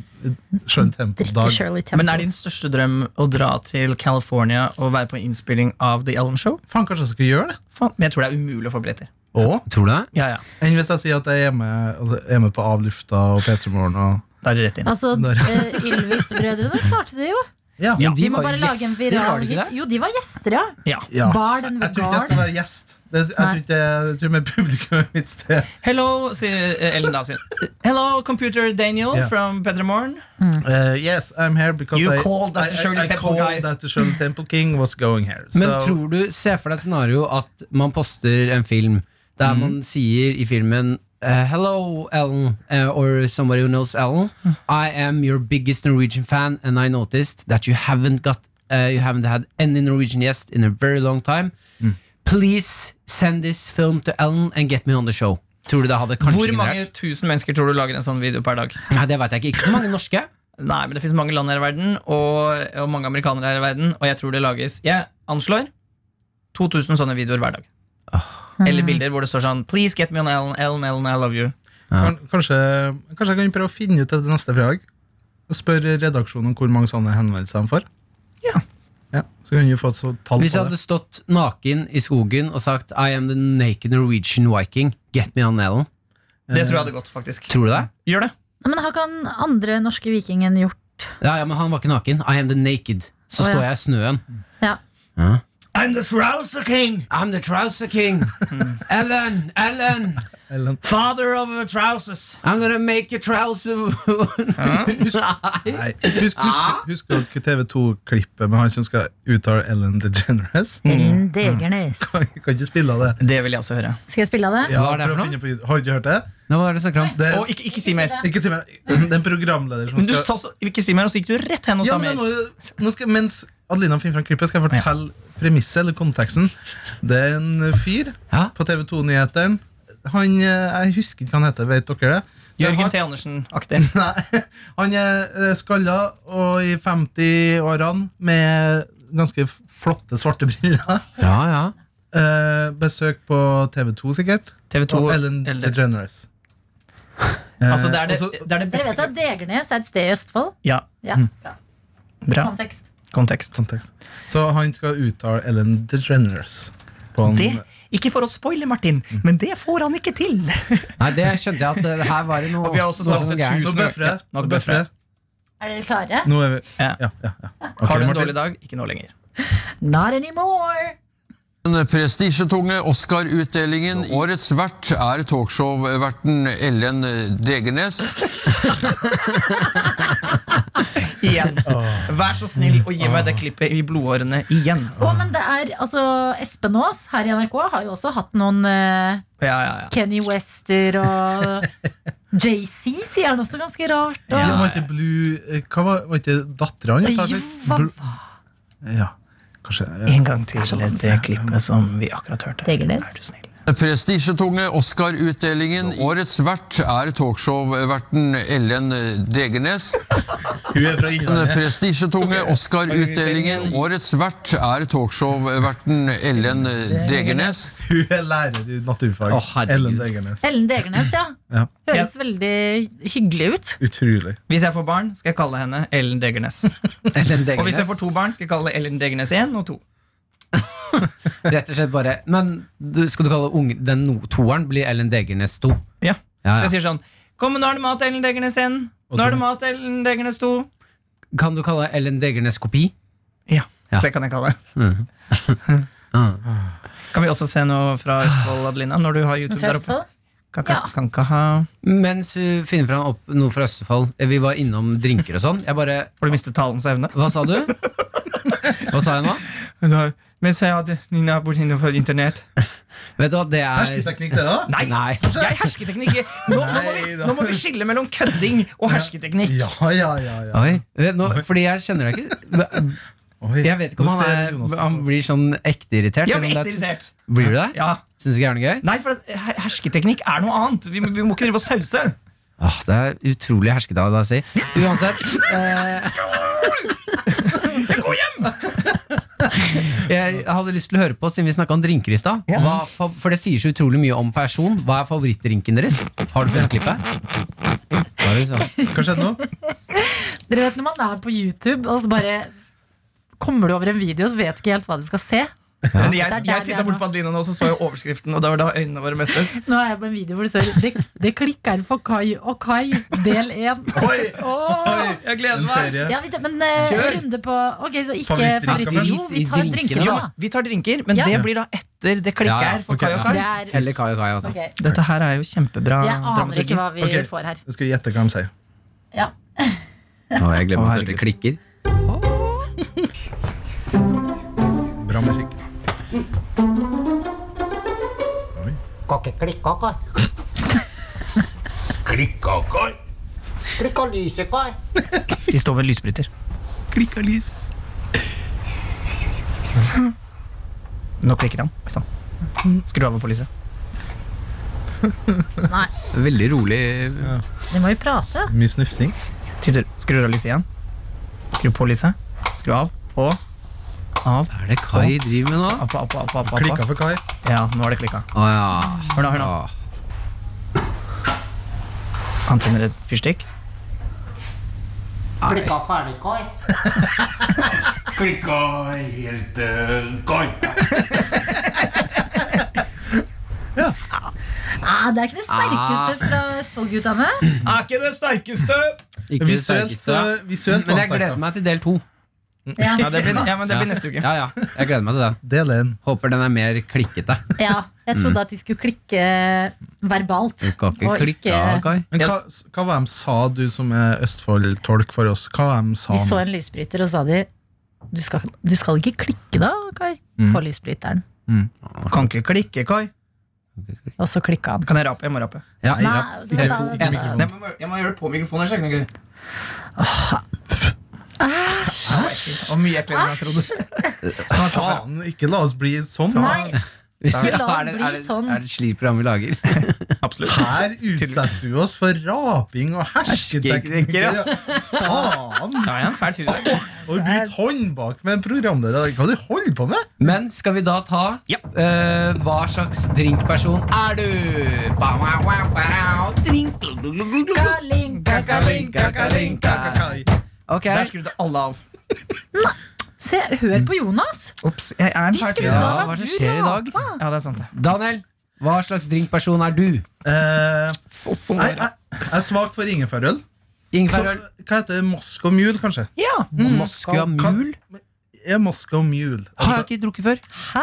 Speaker 5: Shirley
Speaker 2: Drikke
Speaker 5: Temple-dag.
Speaker 2: Shirley Temple.
Speaker 4: Men er din største drøm å dra til California og være på en innspilling av The Ellen Show?
Speaker 5: Faen, kanskje jeg skal gjøre det?
Speaker 4: Faen, men jeg tror det er umulig å få billetter.
Speaker 5: Åh.
Speaker 3: Tror du det?
Speaker 4: Ja, ja,
Speaker 5: Enn hvis jeg sier at jeg er med, altså, er med på Avlufta og P3 Morgen. Og...
Speaker 4: Da er det rett inn.
Speaker 2: Altså,
Speaker 5: Der.
Speaker 2: eh, Ylvis-brødrene klarte det jo.
Speaker 5: Ja.
Speaker 3: Men
Speaker 2: De må bare lage en
Speaker 3: var
Speaker 2: viral
Speaker 3: de ikke
Speaker 2: hit. Jo, de var gjester, ja.
Speaker 4: Ja.
Speaker 2: Bar, den
Speaker 5: Jeg tror ikke jeg skal
Speaker 2: garden.
Speaker 5: være gjest. Det, jeg,
Speaker 2: Nei.
Speaker 5: tror ikke, jeg tror mer publikum er mitt sted.
Speaker 4: Hello, sier eh, Ellen da. Sier. Hello, computer Daniel
Speaker 5: Ja.
Speaker 4: from Petter Morn.
Speaker 5: Uh, yes, I'm here because
Speaker 4: You
Speaker 5: I,
Speaker 4: called that
Speaker 5: I,
Speaker 4: Shirley
Speaker 5: I, I
Speaker 4: Temple
Speaker 5: called
Speaker 4: guy.
Speaker 5: that the Shirley Temple King was going here.
Speaker 3: Men
Speaker 5: So-
Speaker 3: tror du, se for deg scenario at man poster en film der
Speaker 4: Mhm.
Speaker 3: man sier i filmen eh, Hello, Ellen, eh, or somebody who knows Ellen. I am your biggest Norwegian fan, and I noticed that you haven't got eh, You haven't had any Norwegian guest in a very long time.
Speaker 4: Mm.
Speaker 3: Please send this film to Ellen and get me on the show. Tror du det hadde kanskje
Speaker 4: Hvor mange
Speaker 3: generert?
Speaker 4: tusen mennesker tror du lager en sånn video per dag?
Speaker 3: Nei, det vet jeg ikke. Ikke så mange norske.
Speaker 4: Nei, men det finnes mange land her i verden, og, og mange amerikanere her i verden, og jeg tror det lages Jeg anslår 2000 sånne videoer hver dag.
Speaker 6: Ah.
Speaker 4: Eller bilder hvor det står sånn Please get me on Ellen, Ellen, Ellen, I love you.
Speaker 5: Kan- Kanskje, kanskje jeg kan prøve å finne ut det til neste fredag? Og spørre redaksjonen om hvor mange sånne henvendelser de får?
Speaker 4: Ja.
Speaker 5: Ja, Så kan vi få et så tall
Speaker 3: Hvis jeg
Speaker 5: på
Speaker 3: hadde
Speaker 5: det.
Speaker 3: stått naken i skogen og sagt I am the naked Norwegian Viking, get me on Ellen.
Speaker 4: Det tror jeg hadde gått, faktisk.
Speaker 3: Eh, Tror du det?
Speaker 4: Gjør det.
Speaker 2: Nei, Men har ikke han andre norske vikingen gjort
Speaker 3: Ja, ja, men han var ikke naken. I am the naked.
Speaker 2: Å,
Speaker 3: Så
Speaker 2: ja.
Speaker 3: står jeg i snøen.
Speaker 2: Ja.
Speaker 6: I'm the Trouser King!
Speaker 3: I'm the trouser king. Ellen, Ellen.
Speaker 5: Ellen.
Speaker 6: Father of uh, trousers!
Speaker 3: I'm gonna make your trouser Nei.
Speaker 5: Nei, Husk, husk, husk dere TV2-klippet med han som skal uttale Ellen DeGeneres?
Speaker 2: Ellen Mm. Degernes?
Speaker 5: Mm. Kan kan ikke spille av det.
Speaker 4: Det vil jeg også høre.
Speaker 2: Skal jeg spille av det?
Speaker 5: Ja,
Speaker 3: Hva er det
Speaker 5: prøv
Speaker 3: for
Speaker 5: å
Speaker 3: noe?
Speaker 5: finne på YouTube. Har du ikke hørt det?
Speaker 3: Nå var det snakk om.
Speaker 5: det
Speaker 4: Og ikke, ikke si mer.
Speaker 5: ikke si meg, det er en programleder som
Speaker 4: Men du
Speaker 5: skal
Speaker 4: sa så, ikke si mer, og så gikk du rett hen og
Speaker 5: ja,
Speaker 4: sa
Speaker 5: men
Speaker 4: mer.
Speaker 5: nå, nå skal, Mens Adelina finner fram klippet, skal jeg fortelle premisset eller konteksten. Det er en fyr
Speaker 3: Ja.
Speaker 5: på TV2-nyhetene. Han eh, Jeg husker ikke hva han heter, vet dere det? det? er
Speaker 4: Jørgen
Speaker 5: han-
Speaker 4: T. Andersen-aktig.
Speaker 5: Nei, han er eh, skalla og i 50-årene med ganske f- flotte svarte briller.
Speaker 3: Ja, ja.
Speaker 5: Eh, besøk på TV2, sikkert.
Speaker 4: TV2
Speaker 5: Og Ellen
Speaker 4: eller-
Speaker 5: DeGeneres.
Speaker 4: Altså, det er det,
Speaker 5: og så-
Speaker 4: det, er det
Speaker 2: Dere vet
Speaker 4: beste
Speaker 2: at Degernes er et sted i Østfold?
Speaker 4: Ja,
Speaker 2: Ja, bra.
Speaker 4: bra.
Speaker 2: Kontekst.
Speaker 4: Kontekst.
Speaker 5: Kontekst. Så han skal uttale Ellen DeGeneres. På en,
Speaker 4: Det, ikke for å spoile, Martin, men det får han ikke til.
Speaker 3: Nei, det skjønte jeg at det her var det noe,
Speaker 4: Og vi har også
Speaker 3: noe
Speaker 4: sagt
Speaker 3: som
Speaker 4: det
Speaker 3: gærent.
Speaker 5: nå bøffer jeg.
Speaker 4: Nå
Speaker 5: Nå bøffer jeg.
Speaker 2: Er dere klare?
Speaker 5: Nå er vi
Speaker 4: Ja.
Speaker 5: Ja, ja, ja. Ok,
Speaker 4: Har du en
Speaker 5: Martin.
Speaker 4: dårlig dag? Ikke nå lenger.
Speaker 2: Not anymore!
Speaker 7: Den prestisjetunge Oscar-utdelingen. Årets vert er talkshow-verten Ellen Degernes.
Speaker 4: Igjen. Vær så snill og gi meg det klippet i blodårene igjen.
Speaker 2: Å, men det er, altså, Espen Aas her i NRK har jo også hatt noen eh,
Speaker 4: Ja, ja, ja.
Speaker 2: Kenny Wester og JC sier han også ganske rart. Og,
Speaker 5: Ja, var ikke Blue eh, Hva var, var ikke dattera han?
Speaker 2: Jo, hva
Speaker 5: Ja, kanskje ja.
Speaker 4: En gang til det klippet som vi akkurat hørte.
Speaker 2: Degernes.
Speaker 4: Er du snill.
Speaker 7: Prestisjetunge Oscar-utdelingen. Årets vert er talkshow-verten Ellen Degernes.
Speaker 5: Hun er fra Innlandet.
Speaker 7: Prestisjetunge Oscar-utdelingen. Årets vert er talkshow-verten Ellen Degernes.
Speaker 5: Hun er lærer i naturfag.
Speaker 3: Å, herregud.
Speaker 5: Ellen Degernes.
Speaker 2: Ellen Degernes, ja.
Speaker 5: Ja.
Speaker 2: Høres veldig hyggelig ut.
Speaker 5: Utrolig.
Speaker 4: Hvis jeg får barn, skal jeg kalle henne Ellen Degernes.
Speaker 3: Ellen
Speaker 4: Og hvis jeg
Speaker 3: Degernes.
Speaker 4: får to barn, skal jeg kalle Ellen Degernes 1 og 2.
Speaker 3: Rett og slett bare Men du, skal du kalle ung, den no, toeren blir Ellen Degernes 2?
Speaker 4: Ja.
Speaker 3: Ja,
Speaker 4: Så jeg
Speaker 3: Ah, ja.
Speaker 4: sier sånn Kom, nå er det mat, Ellen Degernes 1. Nå er det mat, Ellen Degernes 2.
Speaker 3: Kan du kalle Ellen Degernes kopi?
Speaker 4: Ja,
Speaker 3: Ja. Mm. Ah.
Speaker 4: det kan jeg kalle det. Kan vi også se noe fra Østfold, Adelina? Når du har YouTube der oppe.
Speaker 2: Trøstfold.
Speaker 4: Kan,
Speaker 2: Ja.
Speaker 4: kan, kan ikke ha
Speaker 3: Mens hun finner fram opp noe fra Østfold eh, Vi var innom drinker og sånn. Jeg bare
Speaker 4: Har du mistet talens evne?
Speaker 3: Hva sa du? Hva sa jeg nå?
Speaker 4: Mens jeg hadde Nina borte innenfor internett.
Speaker 3: Vet du hva, det er
Speaker 5: Hersketeknikk, det, da?
Speaker 4: Nei!
Speaker 3: Nei.
Speaker 4: Jeg hersketeknikk! Nå, nå, må vi,
Speaker 5: Nei da.
Speaker 4: nå må vi skille mellom kødding og hersketeknikk.
Speaker 5: Ja, ja, ja. ja.
Speaker 3: Oi. eh, Nå, fordi jeg kjenner deg ikke.
Speaker 5: Oi.
Speaker 3: Jeg vet ikke om
Speaker 5: Nå
Speaker 3: han,
Speaker 5: ser Jonas
Speaker 3: er,
Speaker 5: det.
Speaker 3: han blir sånn ekte irritert.
Speaker 4: Jeg
Speaker 3: eller
Speaker 4: blir
Speaker 3: om det
Speaker 4: ekte
Speaker 3: er-
Speaker 4: irritert.
Speaker 3: Blir du det?
Speaker 4: Ja.
Speaker 3: Syns du ikke det er noe gøy?
Speaker 4: Nei, for at her- hersketeknikk er noe annet. Vi, vi må ikke drive og sause.
Speaker 3: Åh, Ah, det er utrolig hersket av deg å si. Uansett eh,
Speaker 4: Jeg går hjem!
Speaker 3: Jeg hadde lyst til å høre på, siden vi snakka om drinker i stad. Hva fa- For det sier så utrolig mye om person. Hva er favorittdrinken deres? Har du funnet klippet? Hva er det du sa?
Speaker 5: Hva skjedde nå?
Speaker 2: Dere vet når man er på YouTube, og så bare kommer du over en video, så vet du ikke helt hva du skal se.
Speaker 4: Men
Speaker 2: Det er
Speaker 4: jeg
Speaker 2: der
Speaker 4: jeg
Speaker 2: vi er
Speaker 4: titta bort
Speaker 2: nå.
Speaker 4: på Adelina nå, så så jeg overskriften, og det var da øynene våre møttes.
Speaker 2: Nå er jeg på en video hvor det står 'Det, det klikker for Kai og Kai, del 1'.
Speaker 5: Oi!
Speaker 4: Åh, jeg gleder
Speaker 5: En
Speaker 4: meg!
Speaker 5: serie.
Speaker 2: Ja, vi tar, men eh,
Speaker 4: Kjør!
Speaker 2: runde på Ok, så ikke
Speaker 5: Favorittdrinker.
Speaker 2: favorittdrinker. Jo, vi tar drinker
Speaker 3: Drit i
Speaker 2: nå,
Speaker 3: drinkene,
Speaker 2: da.
Speaker 4: Vi tar drinker, men
Speaker 2: Ja.
Speaker 4: det blir da etter det klikket
Speaker 3: Ja, ja.
Speaker 4: her for
Speaker 5: Ok,
Speaker 4: Kai og Kai.
Speaker 2: Det er
Speaker 3: Heller Kai og Kai, altså.
Speaker 2: Ok.
Speaker 4: Dette her er jo kjempebra
Speaker 2: Jeg aner
Speaker 4: dramaturgi.
Speaker 2: ikke hva vi
Speaker 5: Ah, Ok.
Speaker 2: får her.
Speaker 5: Jeg skal gjette hva de sier.
Speaker 2: Ja.
Speaker 3: Å, jeg glemmer
Speaker 4: Å,
Speaker 3: først det klikker.
Speaker 5: Bra musikk.
Speaker 8: Kokke, klikk, kokke. Klikk, kokke. Klikk og lyse, kokke.
Speaker 4: De står ved lysbryter. Klikk og lys. Nå klikker han. Oi sann. Skru av på lyset.
Speaker 2: Nei,
Speaker 3: Veldig rolig.
Speaker 2: vi må jo prate.
Speaker 5: Mye snufsing.
Speaker 4: Titter. Skrur av lyset igjen. Skru på lyset. Skru av. På. Av.
Speaker 3: Hva er det Kai driver med nå?
Speaker 4: Av, av, av, av, av,
Speaker 5: Klikka
Speaker 4: av. Ah.
Speaker 5: for Kai.
Speaker 4: Ja, nå er det klikka.
Speaker 3: Å ja.
Speaker 4: Hør nå, hør nå.
Speaker 3: Åh.
Speaker 4: Han tenner et fyrstikk.
Speaker 8: Klikk og ferdig, kokke.
Speaker 9: Klikka helt uh,
Speaker 2: Nei, Ah, det er
Speaker 5: Ah.
Speaker 2: ikke det sterkeste fra Østfold-guttene.
Speaker 4: Er ikke det sterkeste!
Speaker 3: Ikke det
Speaker 5: Visuelt,
Speaker 3: sterkeste.
Speaker 5: eh, visuelt
Speaker 3: Men jeg
Speaker 5: var han
Speaker 3: gleder meg til del to.
Speaker 2: Ja.
Speaker 4: Ja, det blir, ja, men det blir neste uke.
Speaker 3: Ja, ja. Jeg gleder meg til det.
Speaker 5: Del én.
Speaker 3: Håper den er mer klikkete.
Speaker 2: ja, jeg trodde at de skulle klikke verbalt.
Speaker 3: Du kan ikke
Speaker 2: og
Speaker 3: klikke av, Kai.
Speaker 5: Men hva, hva var de sa, du som er Østfold-tolk for oss? Hva var de sa?
Speaker 2: De så
Speaker 5: nå?
Speaker 2: en lysbryter, og sa de du skal, du skal ikke klikke da, Kai,
Speaker 3: Mm.
Speaker 2: på lysbryteren.
Speaker 4: Kan ikke klikke, Kai.
Speaker 2: Og så klikka han.
Speaker 4: Kan jeg rape? Jeg må rape.
Speaker 3: Ja,
Speaker 2: Nei,
Speaker 3: rapp.
Speaker 2: det-
Speaker 3: del
Speaker 2: det-
Speaker 3: to.
Speaker 2: det-
Speaker 3: En.
Speaker 4: Nei, men jeg må- jeg må gjøre det på mikrofonen. så jeg kan ikke- Æsj! Og mye eklere enn jeg trodde.
Speaker 5: Faen, ikke la oss bli sånn.
Speaker 2: Nei, ikke la oss
Speaker 3: Er det-
Speaker 2: bli
Speaker 3: er det-
Speaker 2: sånn.
Speaker 3: Er det et slikt program vi lager?
Speaker 5: Her utsetter du oss for raping og
Speaker 3: Hersketeknikker,
Speaker 5: hersketeknikker. Faen!
Speaker 4: Ja, jeg er en fæl fyr i dag.
Speaker 5: Og du bruker hånd bak med en programleder. Hva du holder på med?
Speaker 3: Men skal vi da ta
Speaker 4: Ja.
Speaker 3: eh, hva slags drinkperson er du? Ba, wa, wa, ba, ra, drink.
Speaker 2: Kaling, kakaling.
Speaker 5: Kai.
Speaker 3: Ok,
Speaker 4: Der skrudde alle av.
Speaker 2: Se, hør på Jonas!
Speaker 4: Ops, jeg er en
Speaker 2: De
Speaker 4: fæl fyr.
Speaker 2: skrudde
Speaker 4: Ja.
Speaker 2: av
Speaker 3: hva
Speaker 2: at
Speaker 3: som
Speaker 2: du
Speaker 3: skjer i dag?
Speaker 2: rapa.
Speaker 4: ja, det er sant. det.
Speaker 3: Daniel, hva slags drinkperson er du?
Speaker 5: Eh,
Speaker 4: Så så
Speaker 5: jeg, jeg, jeg er svak for ingefærøl. Så,
Speaker 3: Ingefærøl?
Speaker 5: Hva heter det? Moscow Mule, kanskje?
Speaker 4: Ja!
Speaker 3: Moskva mul?
Speaker 5: Ja, Moscow Mule.
Speaker 3: Har jeg
Speaker 5: Altså,
Speaker 3: ikke drukket før.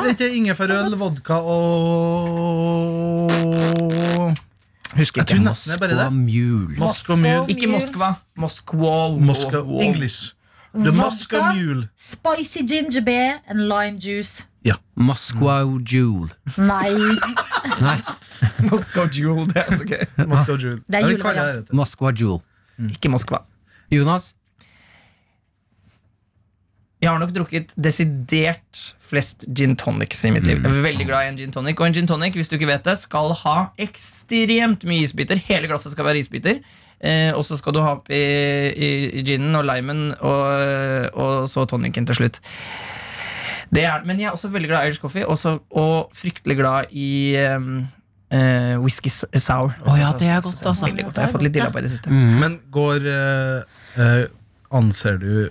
Speaker 5: det er ikke ingefærøl, vodka og
Speaker 4: Husker
Speaker 5: Jeg tror
Speaker 4: ikke.
Speaker 5: nesten det er bare det.
Speaker 3: mul.
Speaker 5: Moscow Mule.
Speaker 4: Ikke Moskva. Moskva.
Speaker 5: Moscow English. The Moscow Mule.
Speaker 2: Spicy ginger beer and lime juice.
Speaker 3: Moskva jule.
Speaker 2: Nei,
Speaker 3: Nei,
Speaker 4: Moskva Jewel, det er så gøy.
Speaker 5: Moscow Jule.
Speaker 2: Det er
Speaker 5: Jeg vil kalle
Speaker 2: julevariant.
Speaker 5: det det.
Speaker 3: Moskva jule.
Speaker 4: Ikke Moskva.
Speaker 3: Jonas,
Speaker 4: Jeg har nok drukket desidert flest gin tonics i mitt liv.
Speaker 3: Mm.
Speaker 4: Jeg er veldig glad i en gin tonic. Og en gin tonic hvis du ikke vet det, skal ha ekstremt mye isbiter. Hele glasset skal være isbiter. Eh, og så skal du ha oppi i, i ginen og limen og, og så tonicen til slutt. Det er, men jeg er også veldig glad i Irish coffee også, og fryktelig glad i um, eh, whisky s- sour.
Speaker 3: Å ja,
Speaker 4: Så-
Speaker 3: det er
Speaker 4: så-
Speaker 3: godt,
Speaker 4: så- så-
Speaker 3: altså.
Speaker 4: veldig godt. Jeg har fått litt dilla på i det siste.
Speaker 5: Men går eh, eh, Anser du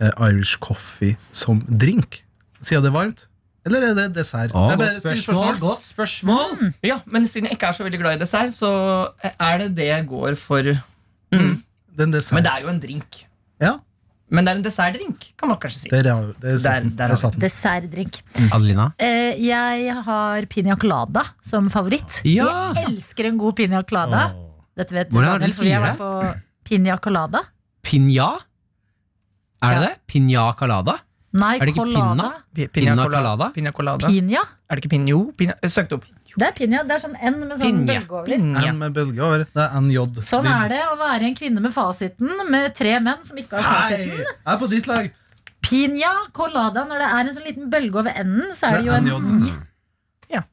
Speaker 5: eh, Irish coffee som drink? Siden det er varmt? Eller er det dessert?
Speaker 3: Å, Ah,
Speaker 5: Jeg bare
Speaker 3: godt
Speaker 5: stiller
Speaker 3: spørsmål! Godt spørsmål.
Speaker 4: Ja, Men siden jeg ikke er så veldig glad i dessert, så er det det jeg går for.
Speaker 5: Den dessert.
Speaker 4: Men det er jo en drink.
Speaker 5: ja,
Speaker 4: Men det er en dessertdrink, kan man kanskje si.
Speaker 5: der, er- der,
Speaker 4: Der-
Speaker 5: der,
Speaker 4: der er
Speaker 5: der satt den.
Speaker 2: Dessertdrink.
Speaker 3: Adelina?
Speaker 2: Eh, jeg har piña colada som favoritt.
Speaker 3: Ja.
Speaker 2: Jeg elsker en god piña colada. Dette vet du,
Speaker 3: Hvordan er
Speaker 2: Daniel,
Speaker 3: det du
Speaker 2: for vi har
Speaker 3: sier
Speaker 2: vært på piña colada.
Speaker 3: Piña? Er det
Speaker 2: Ja.
Speaker 3: det? Piña calada?
Speaker 2: Nei,
Speaker 3: Er det ikke
Speaker 2: colada.
Speaker 3: pinna?
Speaker 4: Pi-
Speaker 3: Pina
Speaker 4: cola-
Speaker 3: colada?
Speaker 4: Pina colada.
Speaker 2: Piña?
Speaker 4: er det ikke pinjo? Pina, jeg søkte opp.
Speaker 2: Det er piña. Det er sånn N med sånn
Speaker 3: Piña.
Speaker 2: bølge over.
Speaker 4: Pinja.
Speaker 5: N med bølge over. Det er NJ.
Speaker 2: Sånn er det å være en kvinne med fasiten med tre menn som ikke har
Speaker 5: Hei!
Speaker 2: fasiten.
Speaker 5: Jeg er på ditt lag.
Speaker 2: Piña colada, når det er en sånn liten bølge over enden, så er det jo
Speaker 5: Det er
Speaker 2: en
Speaker 5: NJ.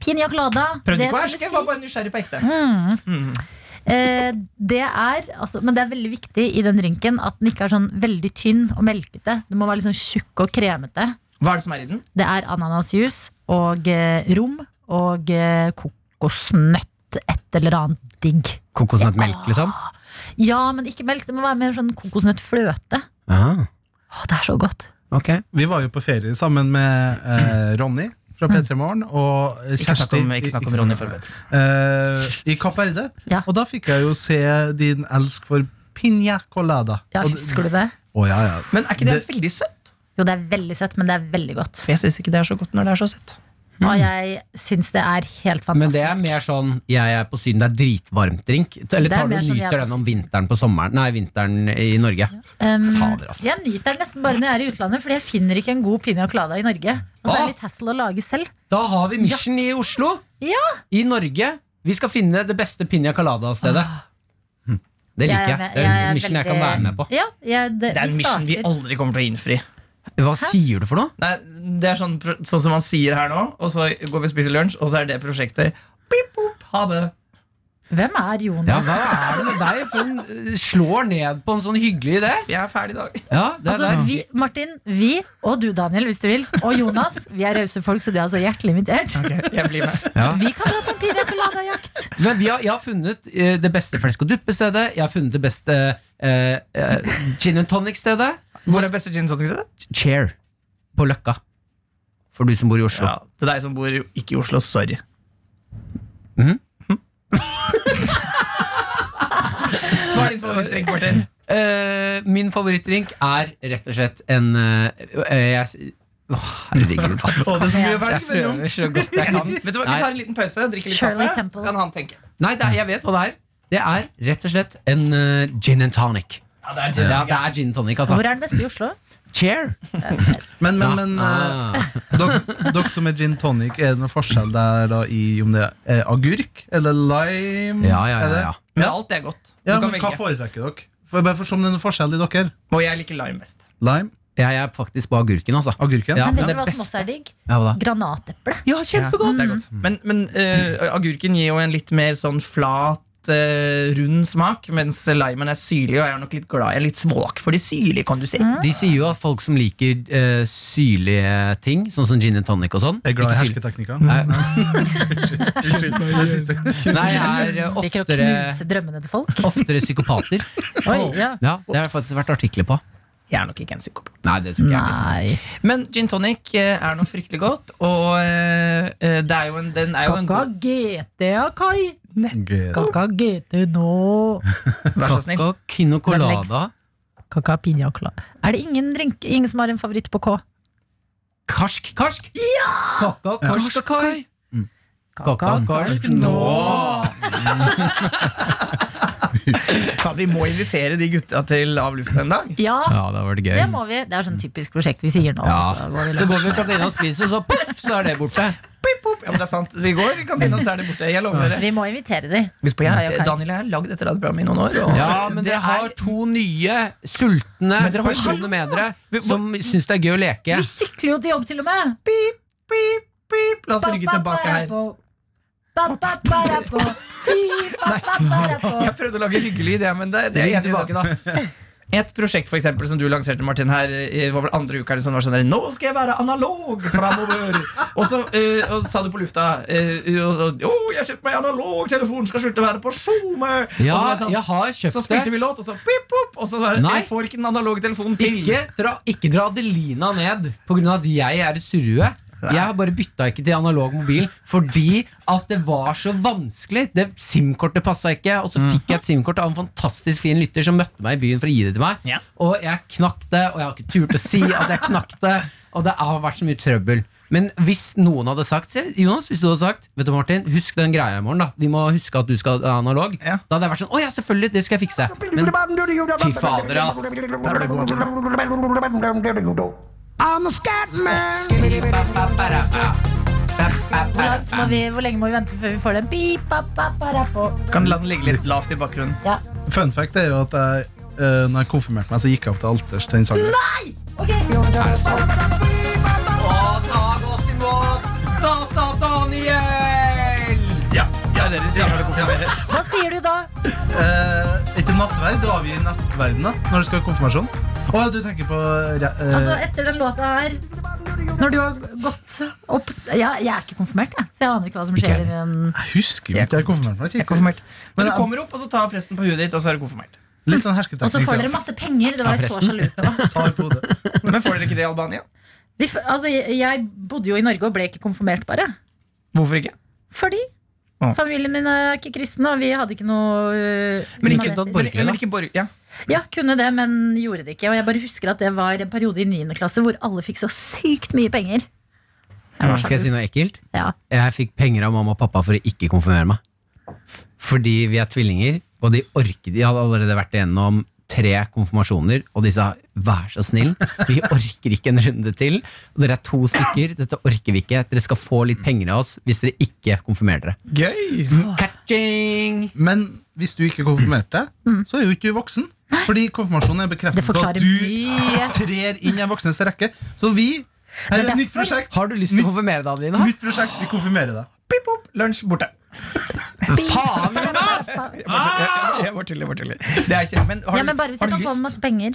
Speaker 2: piña colada.
Speaker 4: Prøvde
Speaker 2: Det
Speaker 4: ikke å
Speaker 2: skulle
Speaker 4: herske, jeg
Speaker 2: si-
Speaker 4: var bare nysgjerrig på ekte.
Speaker 2: Eh, det er, altså, men det er veldig viktig i den drinken at den ikke er sånn veldig tynn og melkete. Den må være litt sånn tjukk og kremete.
Speaker 4: Hva er det som er i den?
Speaker 2: Det er ananasjus og eh, rom og eh, kokosnøtt. Et eller annet digg.
Speaker 3: Kokosnøttmelk, liksom?
Speaker 2: Ja, men ikke melk. Det må være mer sånn kokosnøttfløte.
Speaker 3: Ah,
Speaker 2: Å, det er så godt.
Speaker 3: ok.
Speaker 5: Vi var jo på ferie sammen med eh, Ronny fra P3 Morgen og
Speaker 4: Mm.
Speaker 5: eh, Kjersti
Speaker 4: Ikke snakk om, ikke snakk om Ronny Forberg.
Speaker 5: eh, I Kapp Verde.
Speaker 2: Ja.
Speaker 5: Og da fikk jeg jo se din elsk for piña colada.
Speaker 2: Ja,
Speaker 5: Og-
Speaker 2: husker du det?
Speaker 5: Å, ja, ja.
Speaker 4: Men er ikke det, veldig søtt?
Speaker 2: Jo, det er veldig søtt, men det er veldig godt.
Speaker 4: For jeg syns ikke det er så godt når det er så søtt.
Speaker 2: Og jeg syns det er helt fantastisk.
Speaker 3: Mm. Men det er mer sånn 'jeg er på Syden', det er dritvarmt-drink? Eller
Speaker 2: Det er
Speaker 3: tar du
Speaker 2: mer
Speaker 3: og
Speaker 2: sånn, jeg er
Speaker 3: nyter
Speaker 2: på
Speaker 3: den om vinteren på sommeren Nei, vinteren i Norge?
Speaker 2: Um,
Speaker 3: Fader, altså.
Speaker 2: Jeg nyter den nesten bare når jeg er i utlandet, Fordi jeg finner ikke en god piña colada i Norge. Og så er det litt hassle å lage selv.
Speaker 3: Da har vi Mission i Oslo!
Speaker 2: Ja.
Speaker 3: I Norge. Vi skal finne det beste piña calada-stedet. Hm, Det
Speaker 2: Ah. Jeg
Speaker 3: liker
Speaker 2: er
Speaker 3: jeg.
Speaker 2: med-
Speaker 3: Det
Speaker 2: jeg
Speaker 3: er
Speaker 2: er
Speaker 3: en mission jeg kan
Speaker 2: veldig-
Speaker 3: være med på.
Speaker 2: Ja, jeg, det,
Speaker 4: Det er en mission vi
Speaker 2: starter-
Speaker 4: aldri kommer til å innfri.
Speaker 3: Hva sier du for noe?
Speaker 4: Nei, det er sånn, pro- sånn som man sier her nå, og så går vi og spiser lunsj, og så er det prosjektet. Pip, pop, ha det.
Speaker 2: Hvem er
Speaker 3: Ja,
Speaker 2: Jonas?
Speaker 3: hva er det med deg? For en eh, slår ned på en sånn hyggelig idé.
Speaker 4: Jeg er ferdig i dag.
Speaker 3: Ja, det er
Speaker 2: altså,
Speaker 3: der.
Speaker 2: vi, Martin, vi og du, Daniel, hvis du vil, og Jonas. Vi er rause folk, så du er så hjertelig invitert.
Speaker 4: Jeg blir med.
Speaker 3: Ja.
Speaker 2: Vi kan prate om piña colada-jakt.
Speaker 3: Men vi har, jeg har funnet eh, det beste flesk- og duppestedet. Jeg har funnet det beste eh, eh, gin and tonic-stedet.
Speaker 4: Hvor er beste gin tonic? stedet?
Speaker 3: Chair på Løkka. For du som bor i Oslo.
Speaker 4: Ja, til deg som bor i- ikke i Oslo, sorry.
Speaker 3: Mhm.
Speaker 4: Mhm. Hva er din favorittdrink, Martin?
Speaker 3: Eh, min favorittdrink er rett og slett en eh, eh, jeg, s- Åh, Herregud, ass.
Speaker 5: Å, det er så mye
Speaker 3: Jeg
Speaker 5: verk mellom.
Speaker 3: prøver så godt jeg kan.
Speaker 4: Vet du hva, Vi tar en liten pause, drikker litt
Speaker 2: Shirley
Speaker 4: kaffe,
Speaker 2: Temple.
Speaker 4: så kan han tenke.
Speaker 3: Nei, det er, jeg vet hva det er. Det er rett og slett en eh, gin and tonic.
Speaker 4: Ja, det er
Speaker 3: Det
Speaker 4: gin.
Speaker 3: er, det er gin and tonic, altså.
Speaker 2: Hvor er den beste i Oslo?
Speaker 3: Chair.
Speaker 5: Men, men, men eh,
Speaker 3: Ah.
Speaker 5: dere, dere som er gin tonic, er det noen forskjell der da i om det er agurk eller lime?
Speaker 3: Ja, ja,
Speaker 5: Er
Speaker 3: ja,
Speaker 5: det?
Speaker 3: ja.
Speaker 4: Men alt er godt. Du
Speaker 5: Ja,
Speaker 4: kan
Speaker 5: men Hva
Speaker 4: velge.
Speaker 5: foretrekker dere? For bare for som det er noen forskjell i dere.
Speaker 4: Og jeg liker lime best.
Speaker 5: Lime,
Speaker 3: Jeg er faktisk på agurken, altså.
Speaker 5: agurken.
Speaker 3: Ja,
Speaker 2: Men
Speaker 3: men
Speaker 2: vet
Speaker 3: det
Speaker 2: du hva som
Speaker 3: beste-
Speaker 2: også er digg?
Speaker 3: Ja, hva da?
Speaker 2: Granateple.
Speaker 3: Ja,
Speaker 4: Ja, det er godt. Men, men eh, agurken gir jo en litt mer sånn flat, eh, rund smak, mens limen er syrlig, og jeg er nok litt glad. Jeg er litt svak for det syrlige, kan du si.
Speaker 3: De sier jo at folk som liker eh, syrlige ting, sånn som gin and tonic og sånn
Speaker 5: Jeg er glad
Speaker 3: ikke
Speaker 5: i
Speaker 3: syrlig-
Speaker 5: hersketeknikker.
Speaker 3: Nei.
Speaker 5: Unnskyld. det siste.
Speaker 3: Nei, jeg er eh,
Speaker 2: Liker å
Speaker 3: oftere,
Speaker 2: knuse drømmene til folk.
Speaker 3: oftere psykopater.
Speaker 2: Oi, ja.
Speaker 3: Ja, Det har det faktisk vært artikler på.
Speaker 4: Jeg er nok ikke en psykopat.
Speaker 3: Nei, det tror ikke jeg. Liksom.
Speaker 2: Nei.
Speaker 4: Men gin tonic eh, er noe fryktelig godt, og eh, eh, det er jo en, den er jo en
Speaker 2: Kaka
Speaker 4: god
Speaker 2: GT, ja, Kai.
Speaker 5: Gøy.
Speaker 2: Kaka GT nå.
Speaker 4: Vær så snill.
Speaker 3: Kaka Kino Colada
Speaker 2: Kaka piña colada. Er det ingen, drink, ingen som har en favoritt på K?
Speaker 3: Karsk, karsk! Ja! Kaka, karsk og kai. Kaka, karsk nå!
Speaker 4: Ja, vi må invitere de gutta til Av luften en dag.
Speaker 2: Ja,
Speaker 3: Ja, det har vært gøy.
Speaker 2: det må vi. Det er sånn typisk prosjekt vi sier nå.
Speaker 3: Ja.
Speaker 2: Så går vi
Speaker 3: Så
Speaker 2: løs.
Speaker 3: går vi i kantina og spiser, og så poff, så er det borte.
Speaker 4: Pip, pop. Ja, men det er sant. Vi går i kantina, så er de borte. Jeg lover dere.
Speaker 2: Vi må invitere de.
Speaker 4: Husk på, jeg,
Speaker 2: Nei, ok.
Speaker 4: Daniel jeg har lagd dette radioprogrammet i noen år. og
Speaker 3: Ja, men
Speaker 4: det
Speaker 3: dere har
Speaker 4: er-
Speaker 3: to nye sultne
Speaker 4: Men dere har jo-
Speaker 3: personer med dere som syns det er gøy å leke.
Speaker 2: Vi sykler jo til jobb, til og med!
Speaker 4: Pip, pip, pip. La oss rygge tilbake her.
Speaker 2: her.
Speaker 4: Jeg prøvde å lage hyggelig idé, men det, det
Speaker 3: Rygg
Speaker 4: er jeg
Speaker 3: tilbake,
Speaker 4: enig i.
Speaker 3: da.
Speaker 4: Et prosjekt for eksempel, som du lanserte, Martin, her i- var vel andre uka, eller sånn, var sånn der, Nå skal jeg være analog framover! og så eh, og så sa du på lufta eh, og, og, Jo, jeg kjøpte meg analog telefon, skal slutte å være på SoMe!
Speaker 3: Ja,
Speaker 4: og så, var det sånn,
Speaker 3: jeg har
Speaker 4: så
Speaker 3: kjøpt
Speaker 4: spilte
Speaker 3: det.
Speaker 4: vi låt, og så pip, pop, og så var det
Speaker 3: Nei.
Speaker 4: Jeg får ikke den analoge telefonen til.
Speaker 3: Ikke dra, ikke dra Adelina ned pga. at jeg er et surrue. Jeg har bare bytta ikke til analog mobil fordi at det var så vanskelig. Det SIM-kortet passa ikke, og så fikk
Speaker 4: Mhm.
Speaker 3: jeg et SIM-kort av en fantastisk fin lytter som møtte meg i byen for å gi det til meg.
Speaker 4: Ja.
Speaker 3: Og jeg knakk det, og jeg har ikke turt å si at jeg knakk det. Og det har vært så mye trøbbel. Men hvis noen hadde sagt se, Jonas, hvis du hadde sagt Vet du Martin, husk den greia i morgen, da. Vi må huske at du skal ha analog.
Speaker 4: Ja.
Speaker 3: Da hadde jeg vært sånn Å ja, selvfølgelig, det skal jeg fikse. Men fy fader, ass.
Speaker 2: Hvor, langt må vi, hvor lenge må vi vente før vi får den? Beep, ba, ba, ba, da, på.
Speaker 4: Kan la den ligge litt lavt i bakgrunnen.
Speaker 2: Ja.
Speaker 5: Fun fact er jo at jeg eh, Når jeg konfirmerte meg, så gikk jeg opp til alters til den sangen.
Speaker 2: Ok.
Speaker 5: Ja,
Speaker 4: Ja, det er det de sier når det konfirmeres.
Speaker 2: Hva sier du da?
Speaker 5: Eh, Etter nattverd, du avgir nattverden da når du skal ha konfirmasjon. Å, du tenker på re- eh,
Speaker 2: Altså, etter den låta her Når du har gått opp ja, Jeg er ikke konfirmert, jeg. Så jeg aner ikke hva som skjer. i den-
Speaker 5: Jeg husker jo ikke jeg konfirmerte meg.
Speaker 4: Jeg er
Speaker 5: Jeg
Speaker 4: konfirmert. Men du
Speaker 5: Men-
Speaker 4: kommer opp, og så tar presten på huet ditt, og så er du konfirmert.
Speaker 5: Litt sånn
Speaker 2: Og så
Speaker 5: hersketeknikk.
Speaker 2: får dere masse penger. Det var jeg så sjalu på.
Speaker 5: Ta på hodet.
Speaker 4: Men får dere ikke det i Albania?
Speaker 2: Vi f- Altså, jeg jeg bodde jo i Norge og ble ikke konfirmert, bare.
Speaker 4: Hvorfor ikke?
Speaker 2: Fordi
Speaker 4: Å.
Speaker 2: familien min er ikke kristen, og vi hadde ikke noe øh,
Speaker 4: Men ikke
Speaker 2: humanetisk-
Speaker 3: noe
Speaker 4: Men,
Speaker 3: borgerlig, da?
Speaker 4: men ikke borg... Ja.
Speaker 2: Ja, kunne det, men gjorde det ikke. Og jeg bare husker at det var en periode i 9. klasse hvor alle fikk så sykt mye penger.
Speaker 3: Skal jeg si noe ekkelt?
Speaker 2: Ja.
Speaker 3: Jeg fikk penger av mamma og pappa for å ikke konfirmere meg. Fordi vi er tvillinger, og de orket De hadde allerede vært igjennom tre konfirmasjoner, og de sa 'vær så snill, vi orker ikke en runde til'. Og dere er to stykker, dette orker vi ikke. Dere skal få litt penger av oss hvis dere ikke konfirmerer dere.
Speaker 4: Gøy!
Speaker 3: Catching!
Speaker 5: Men hvis du ikke konfirmerte deg, så er jo ikke du voksen. Fordi konfirmasjonen er
Speaker 2: Mm. Det
Speaker 5: bekreftet på at
Speaker 2: forklarer
Speaker 5: du
Speaker 2: mye.
Speaker 5: trer inn i en voksnes rekke. Så vi Her er et nytt prosjekt.
Speaker 3: Har du lyst til å konfirmere deg, Adelina?
Speaker 5: Nytt prosjekt, Vi konfirmerer deg.
Speaker 4: Pip, pop, lunsj, borte.
Speaker 3: Faen, Jonas!
Speaker 4: Jeg var tull- jeg var tull, jeg var tull. Det er kjempe, men har
Speaker 2: Ja,
Speaker 4: du-
Speaker 2: men bare hvis
Speaker 4: har
Speaker 2: jeg
Speaker 4: du
Speaker 2: kan få
Speaker 4: lyst?
Speaker 2: masse penger.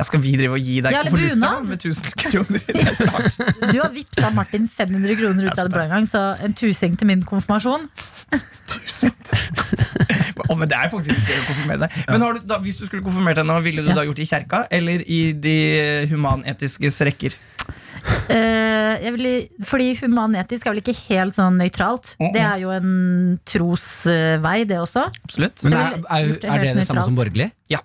Speaker 4: Ja, skal vi drive og gi deg
Speaker 2: Ja, eller
Speaker 4: konvolutter da,
Speaker 2: bunad.
Speaker 4: med 1000 kroner? Det er snart.
Speaker 2: Du har vippsa Martin 500 kroner ut av det bra en gang, så en tusing til min konfirmasjon.
Speaker 4: Å, men det er faktisk ikke gøy å konfirmere deg. Men har du, da, hvis du skulle konfirmert deg nå, ville du
Speaker 2: Ja.
Speaker 4: da gjort det i kjerka eller i de humanetiskes rekker?
Speaker 2: Eh, jeg vil, fordi humanetisk er vel ikke helt sånn nøytralt. Det er jo en trosvei, det også.
Speaker 4: Absolutt.
Speaker 3: Men
Speaker 2: Jeg
Speaker 3: er,
Speaker 2: ville
Speaker 3: er,
Speaker 2: gjort det
Speaker 3: er det
Speaker 2: helt
Speaker 3: det samme som
Speaker 2: nøytralt.
Speaker 3: borgerlig?
Speaker 4: Ja.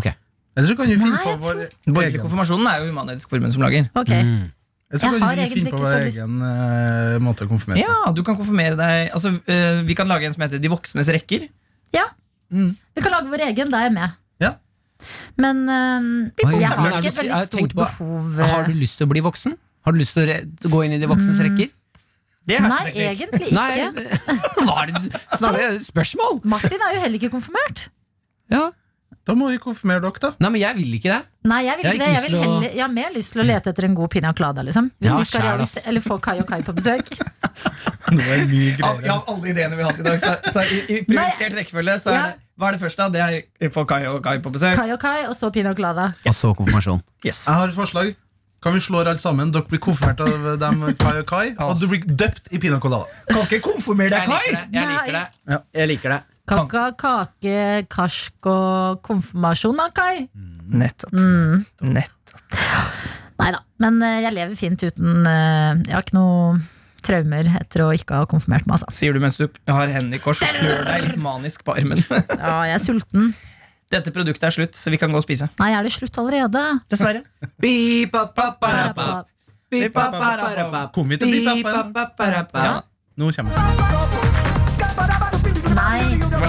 Speaker 3: Ok.
Speaker 5: Eller så kan vi finne
Speaker 2: Nei,
Speaker 5: på
Speaker 2: jeg
Speaker 5: vår
Speaker 2: tror-
Speaker 4: Den borgerlige
Speaker 5: egen,
Speaker 4: konfirmasjonen er jo Human-Etisk Forbund som lager.
Speaker 2: Ok,
Speaker 3: Mm.
Speaker 5: eller så
Speaker 2: Jeg har
Speaker 5: kan vi
Speaker 2: egentlig
Speaker 5: finne
Speaker 2: ikke
Speaker 5: på
Speaker 2: så
Speaker 5: vår
Speaker 2: lyst-
Speaker 5: egen eh, måte å konfirmere på.
Speaker 4: Ja, du kan konfirmere deg altså, eh, Vi kan lage en som heter De voksnes rekker.
Speaker 2: Vi kan lage vår egen, da er jeg med.
Speaker 5: Ja.
Speaker 2: Men eh,
Speaker 3: Oi,
Speaker 2: jeg har
Speaker 3: men er
Speaker 2: ikke
Speaker 3: du
Speaker 2: et
Speaker 3: si-
Speaker 2: veldig
Speaker 3: jeg
Speaker 2: stort
Speaker 3: tenker på-
Speaker 2: behov. eh,
Speaker 3: Har du lyst til å bli voksen? Har du lyst til å re gå inn i de voksnes rekker?
Speaker 4: Det er
Speaker 2: Nei,
Speaker 4: hersketeknikk.
Speaker 2: egentlig
Speaker 3: Nei,
Speaker 2: ikke.
Speaker 3: hva er det du Snarere spørsmål!
Speaker 2: Martin er jo heller ikke konfirmert.
Speaker 3: Ja.
Speaker 5: Da må vi konfirmere dere, da.
Speaker 3: Nei, men jeg vil ikke det.
Speaker 2: Nei, jeg vil
Speaker 3: Jeg
Speaker 2: ikke det. Jeg,
Speaker 3: har ikke lyst
Speaker 2: vil
Speaker 3: til å-
Speaker 2: heller, jeg har mer lyst til å lete etter en god piña colada, liksom. Hvis
Speaker 3: Ja,
Speaker 2: vi skal
Speaker 3: skjær,
Speaker 2: realisere-
Speaker 3: ass.
Speaker 2: Eller få Kai og Kai på besøk.
Speaker 5: Det var mye
Speaker 4: Av,
Speaker 5: greier.
Speaker 4: av alle ideene vi har hatt i dag, så, så i, i prioritert rekkefølge, så er
Speaker 2: Ja.
Speaker 4: det, hva er det første? da? Det er få Kai og Kai på besøk.
Speaker 2: Kai og Kai, og så piña colada.
Speaker 3: Og så konfirmasjon.
Speaker 4: Yes.
Speaker 5: Jeg har et forslag. Kan vi slå alt sammen? Dere blir konfirmert av dem, Kai og Kai. Og du blir døpt i pina colada.
Speaker 4: Kan ikke konfirmere deg, Kai!
Speaker 2: Jeg liker det.
Speaker 5: Ja.
Speaker 3: Jeg liker det.
Speaker 2: Kaka, kake, karsk og konfirmasjon da, Kai.
Speaker 4: Nettopp.
Speaker 2: Mm.
Speaker 4: Nettopp.
Speaker 2: Nei da. Men eh, jeg lever fint uten eh, Jeg har ikke noe traumer etter å ikke ha konfirmert meg, altså.
Speaker 4: Sier du mens du har hendene i kors og klør deg litt manisk på armen.
Speaker 2: Ja, jeg er sulten.
Speaker 4: Dette produktet er slutt, så vi kan gå og spise.
Speaker 2: Nei, er det slutt allerede?
Speaker 4: Dessverre.
Speaker 5: Kom hit og bli pappen.
Speaker 4: Ja,
Speaker 3: Ja.
Speaker 5: Nå kommer jeg.
Speaker 2: Nei.
Speaker 4: det var